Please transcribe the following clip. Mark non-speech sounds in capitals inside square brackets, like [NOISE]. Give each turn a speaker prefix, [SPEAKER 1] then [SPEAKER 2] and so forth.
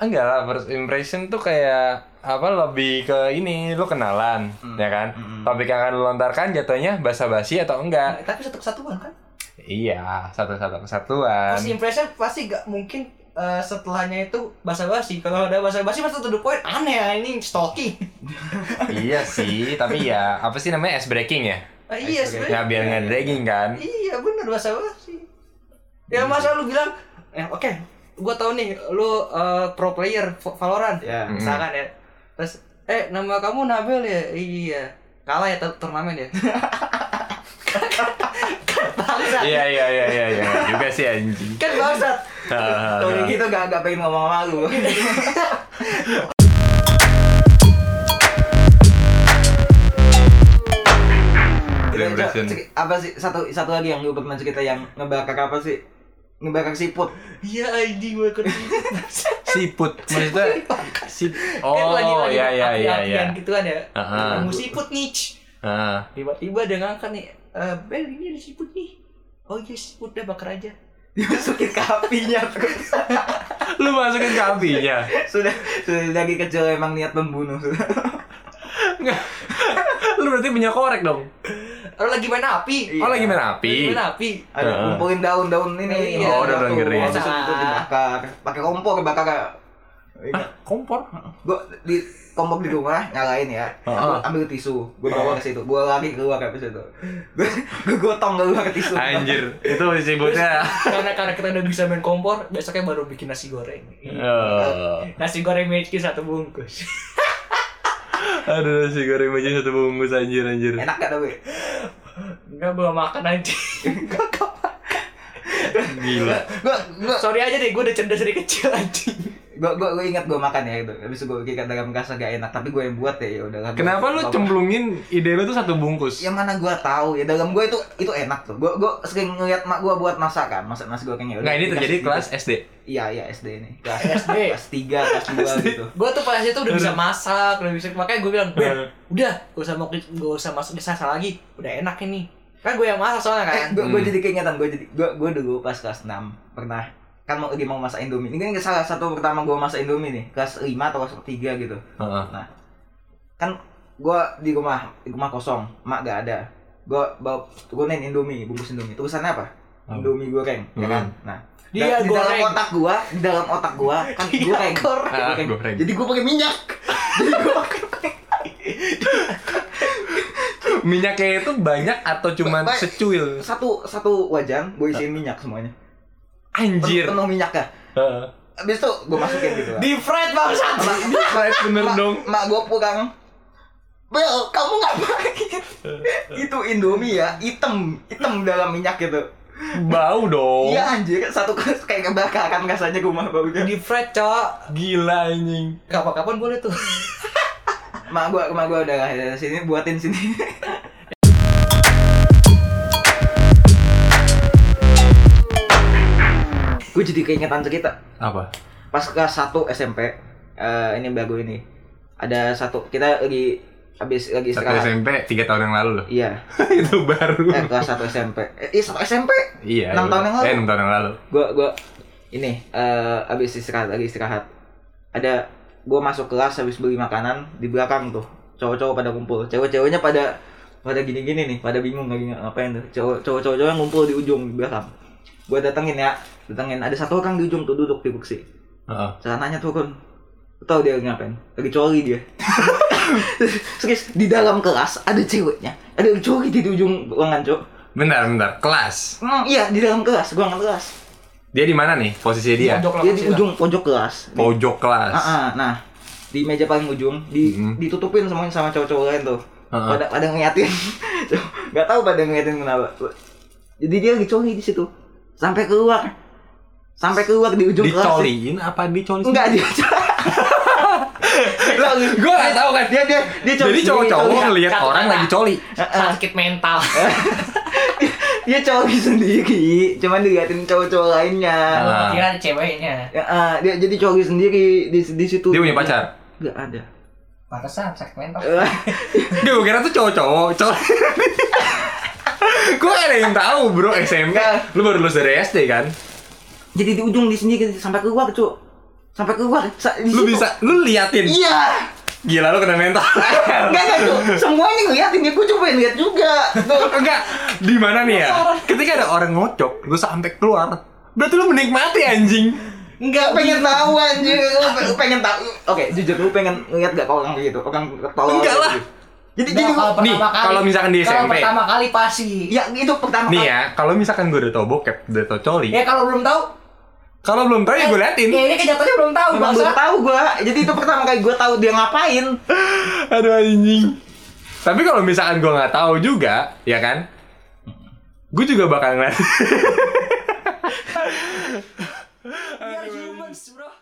[SPEAKER 1] Ah, enggak lah first impression tuh kayak apa lebih ke ini lu kenalan ya kan
[SPEAKER 2] Hmm.
[SPEAKER 1] topik yang akan lu lontarkan jatuhnya basa-basi atau enggak
[SPEAKER 2] Tapi satu kesatuan kan?
[SPEAKER 1] iya satu-satu kesatuan
[SPEAKER 2] First impression pasti gak mungkin eh, setelahnya itu basa-basi. Kalau ada basa-basi pasti to the point aneh ya ini stalking. [LAUGHS]
[SPEAKER 1] iya sih tapi ya apa sih namanya ice breaking ya
[SPEAKER 2] Ah, iya
[SPEAKER 3] Ice
[SPEAKER 2] sebenarnya.
[SPEAKER 1] ya biar nggak dragging kan
[SPEAKER 2] Iya benar bahasa basi. Ya masa lu bilang, eh, oke, gua tahu nih lu eh, pro player V- Valorant.
[SPEAKER 3] Ya.
[SPEAKER 1] Mm.
[SPEAKER 2] Misalkan ya. Terus eh nama kamu Nabil ya? Iya. Kalah ya tur- turnamen ya? kan bangsat.
[SPEAKER 1] iya iya iya iya iya Nggak juga sih anjing
[SPEAKER 2] Kan bangsat.
[SPEAKER 1] Hahaha.
[SPEAKER 2] Tuh gitu gak, gak pengen ngomong sama lu.
[SPEAKER 1] First
[SPEAKER 3] Kita-
[SPEAKER 1] impression.
[SPEAKER 3] cek- apa sih satu satu lagi yang lu pernah cerita yang ngebakar apa sih? Ngebakar siput. [LAUGHS]
[SPEAKER 2] Iya ID gue kan.
[SPEAKER 1] siput maksudnya sip
[SPEAKER 2] Kan lagi-
[SPEAKER 1] oh
[SPEAKER 2] lagi
[SPEAKER 1] iya iya iya
[SPEAKER 2] api-apian
[SPEAKER 1] iya
[SPEAKER 2] gituan ya.
[SPEAKER 1] Aha.
[SPEAKER 2] Kamu siput nih.
[SPEAKER 1] Ah.
[SPEAKER 2] tiba-tiba dia ngangkat nih Eh, Bel ini ada siput nih oh iya siput udah bakar aja
[SPEAKER 3] Dimasukin ke apinya terus.
[SPEAKER 1] lu masukin ke
[SPEAKER 2] [LAUGHS]
[SPEAKER 1] apinya
[SPEAKER 3] [LAUGHS] sudah sudah dari kecil emang niat membunuh. [LAUGHS]
[SPEAKER 1] Nggak. lu berarti punya korek dong
[SPEAKER 2] oh lagi main api
[SPEAKER 1] oh lagi main
[SPEAKER 2] lagi
[SPEAKER 1] api
[SPEAKER 2] main api
[SPEAKER 3] Ada
[SPEAKER 1] Heeh.
[SPEAKER 3] kumpulin daun-daun ini.
[SPEAKER 2] Iya. Oh,
[SPEAKER 1] daun-daun
[SPEAKER 3] Waktu-
[SPEAKER 1] kering.
[SPEAKER 3] waktu Itu dibakar. Pakai kompor bakar.
[SPEAKER 1] Hah, kompor
[SPEAKER 3] Gue di kompor di rumah nyalain ya.
[SPEAKER 1] Heeh.
[SPEAKER 3] Gua ambil tisu, gue bawa ke situ, gue lari keluar ke situ, gue gotong keluar ke tisu.
[SPEAKER 1] anjir itu siputnya
[SPEAKER 2] karena karena kita udah bisa main kompor besoknya baru bikin nasi goreng
[SPEAKER 1] Oh.
[SPEAKER 2] nasi goreng magic satu bungkus
[SPEAKER 1] Aduh nasi goreng aja satu bungkus anjir anjir.
[SPEAKER 3] Enak gak tapi?
[SPEAKER 2] enggak belum makan aja
[SPEAKER 1] Gila.
[SPEAKER 3] Gue gue
[SPEAKER 2] sorry aja deh gue udah cerdas dari kecil aja
[SPEAKER 3] gue gue gue ingat gue makan ya itu habis itu gue kira dalam merasa gak enak tapi gue yang buat ya ya udah lah, gua-
[SPEAKER 1] Kenapa lu
[SPEAKER 3] gua-
[SPEAKER 1] cemplungin ide lu tuh satu bungkus?
[SPEAKER 3] ya mana gue tahu ya dalam gue itu itu enak tuh gue gue sering ngeliat mak gue buat masakan masak nasi goreng ya udah,
[SPEAKER 1] Nggak ini
[SPEAKER 3] dikasih
[SPEAKER 1] terjadi
[SPEAKER 3] sedikit.
[SPEAKER 1] kelas Eh, SD.
[SPEAKER 3] iya iya SD ini kelas
[SPEAKER 2] SD.
[SPEAKER 3] kelas tiga kelas dua gitu
[SPEAKER 2] gue tuh pas itu udah bisa masak udah bisa makanya gue bilang Bel udah gak usah mau gak usah masuk desa lagi udah enak ini kan gue yang masak soalnya
[SPEAKER 3] eh
[SPEAKER 2] kan
[SPEAKER 3] gue gue
[SPEAKER 1] Hmm.
[SPEAKER 3] jadi keingetan gue jadi gue gue dulu pas kelas 6 pernah kan mau lagi mau masak indomie ini kan salah satu pertama gue masak indomie nih kelas 5 atau kelas 3 gitu
[SPEAKER 1] Heeh.
[SPEAKER 3] kan gue di rumah di rumah kosong mak gak ada gue bawa turunin indomie bungkus indomie tulisannya
[SPEAKER 1] Apa?
[SPEAKER 3] apa
[SPEAKER 1] Hmm.
[SPEAKER 3] indomie goreng ya kan nah
[SPEAKER 2] Dia
[SPEAKER 3] da- di dalam
[SPEAKER 2] goreng.
[SPEAKER 3] otak gua di dalam otak gua kan
[SPEAKER 2] Dia
[SPEAKER 3] goreng.
[SPEAKER 2] goreng.
[SPEAKER 1] Ah, goreng.
[SPEAKER 3] jadi gua pakai minyak jadi gua pakai
[SPEAKER 1] Minyaknya itu banyak atau cuma
[SPEAKER 3] Ba- ba-
[SPEAKER 1] secuil?
[SPEAKER 3] satu satu wajan gua
[SPEAKER 1] Ah.
[SPEAKER 3] isiin minyak semuanya Pen-
[SPEAKER 1] Anjir.
[SPEAKER 3] penuh minyak ya
[SPEAKER 1] Heeh.
[SPEAKER 3] abis itu gua masukin gitu lah.
[SPEAKER 2] di fried bangsat
[SPEAKER 3] mak,
[SPEAKER 1] Right, bener
[SPEAKER 3] mak,
[SPEAKER 1] dong.
[SPEAKER 3] mak gua pulang Bel, kamu [LAUGHS] ngapain? itu Indomie ya, hitam, hitam dalam minyak gitu.
[SPEAKER 1] Bau dong.
[SPEAKER 3] Iya anjir, satu kelas kayak kebakaran rasanya rumah baunya.
[SPEAKER 2] di fried cok
[SPEAKER 1] Gila anjing.
[SPEAKER 2] kapan-kapan boleh tuh
[SPEAKER 3] Mak gua, mak gua udah lah, ya, sini buatin sini. [LAUGHS] gua jadi keingetan cerita.
[SPEAKER 1] Apa?
[SPEAKER 3] Pas kelas 1 SMP, eh, ini baru ini. Ada satu kita lagi habis lagi
[SPEAKER 1] Satu
[SPEAKER 3] istirahat.
[SPEAKER 1] SMP tiga tahun yang lalu loh.
[SPEAKER 3] Iya,
[SPEAKER 1] [LAUGHS] itu
[SPEAKER 3] eh,
[SPEAKER 1] baru.
[SPEAKER 3] kelas 1 SMP. Eh, iya, satu SMP.
[SPEAKER 1] Iya. iya.
[SPEAKER 3] enam tahun yang lalu.
[SPEAKER 1] Eh enam tahun yang lalu.
[SPEAKER 3] gua gua ini eh habis istirahat lagi istirahat ada gua masuk kelas habis beli makanan di belakang tuh cowok-cowok pada kumpul cewek-ceweknya pada pada gini-gini nih pada bingung lagi ng- ngapain tuh cowok cowok cowok yang ngumpul di ujung di belakang gua datengin ya datengin ada satu orang di ujung tuh duduk di kursi
[SPEAKER 1] Heeh.
[SPEAKER 3] celananya turun Lu tahu dia ngapain lagi coli dia serius di dalam kelas ada ceweknya ada yang coli di ujung ruangan cowok
[SPEAKER 1] Bentar, bentar. Kelas.
[SPEAKER 3] Hmm, iya di dalam kelas ruangan kelas
[SPEAKER 1] Dia di mana nih? Posisi dia?
[SPEAKER 2] Pojok lah,
[SPEAKER 3] dia di
[SPEAKER 2] pojok.
[SPEAKER 3] ujung pojok kelas
[SPEAKER 1] Pojok kelas.
[SPEAKER 3] Ah, ah, nah di meja paling ujung di
[SPEAKER 1] Mhm.
[SPEAKER 3] ditutupin semuanya sama cowok-cowok lain tuh
[SPEAKER 1] Ah, ah.
[SPEAKER 3] pada pada ngeliatin [LAUGHS] nggak tahu pada ngeliatin kenapa jadi dia dicoli di situ sampai keluar sampai keluar di ujung kelas
[SPEAKER 1] Dicoliin apa dicoliin?
[SPEAKER 3] enggak dia [LAUGHS]
[SPEAKER 1] lah gue gak tau kan
[SPEAKER 3] dia dia dia coli
[SPEAKER 1] jadi
[SPEAKER 3] sendiri,
[SPEAKER 1] cowok-cowok
[SPEAKER 3] coli.
[SPEAKER 1] ngelihat
[SPEAKER 2] Satu
[SPEAKER 1] orang
[SPEAKER 2] kata.
[SPEAKER 1] lagi coli ah.
[SPEAKER 2] sakit mental
[SPEAKER 3] dia coli sendiri cuman diliatin cowok-cowok lainnya
[SPEAKER 1] Ah.
[SPEAKER 2] kira ada ceweknya
[SPEAKER 3] Ya, ah, dia jadi coli sendiri di di situ
[SPEAKER 1] dia punya pacar
[SPEAKER 3] nggak ada
[SPEAKER 2] pantesan sakit mental
[SPEAKER 1] Eh, [LAUGHS] gue kira tuh cowok-cowok [LAUGHS] coli gue ada yang tahu bro SMP
[SPEAKER 3] Enggak.
[SPEAKER 1] lu baru lulus dari SD kan
[SPEAKER 3] jadi di ujung di sini sampai gitu, keluar cuy sampai keluar sa- di
[SPEAKER 1] Lu
[SPEAKER 3] situ.
[SPEAKER 1] bisa, lu liatin.
[SPEAKER 3] iya
[SPEAKER 1] Gila lu kena mental.
[SPEAKER 3] [LAUGHS] enggak enggak tuh semuanya ngeliatin ya gue coba lihat juga tuh
[SPEAKER 1] Enggak, di mana nih ya? Ketika ada orang ngocok, gue sampai keluar. Berarti lu menikmati anjing.
[SPEAKER 3] Enggak pengen tahu anjir, Lu pe- pengen tahu. Oke, jujur lu pengen ngeliat gak kalau orang kayak gitu? Orang ketawa.
[SPEAKER 1] Enggak lah.
[SPEAKER 3] gitu. Jadi jadi lu-
[SPEAKER 1] nih, kalau misalkan di
[SPEAKER 2] kalau
[SPEAKER 1] SMP.
[SPEAKER 2] pertama kali pasti.
[SPEAKER 3] ya itu pertama
[SPEAKER 1] Nih
[SPEAKER 3] kali.
[SPEAKER 1] ya, kalau misalkan gue udah tau bokep, udah tau coli.
[SPEAKER 2] Ya
[SPEAKER 3] Eh.
[SPEAKER 2] kalau belum tahu,
[SPEAKER 1] Kalau belum tau ya Eh, gue liatin.
[SPEAKER 2] ya ini kejatuhannya belum tahu,
[SPEAKER 3] Emang
[SPEAKER 2] bangsa.
[SPEAKER 3] belum tahu gua. Jadi itu pertama kali gua tahu dia ngapain.
[SPEAKER 1] Aduh anjing. Tapi kalau misalkan gue nggak tahu juga, ya kan? Gue juga [LAUGHS] bakal ngeliat.
[SPEAKER 2] We are humans, bro.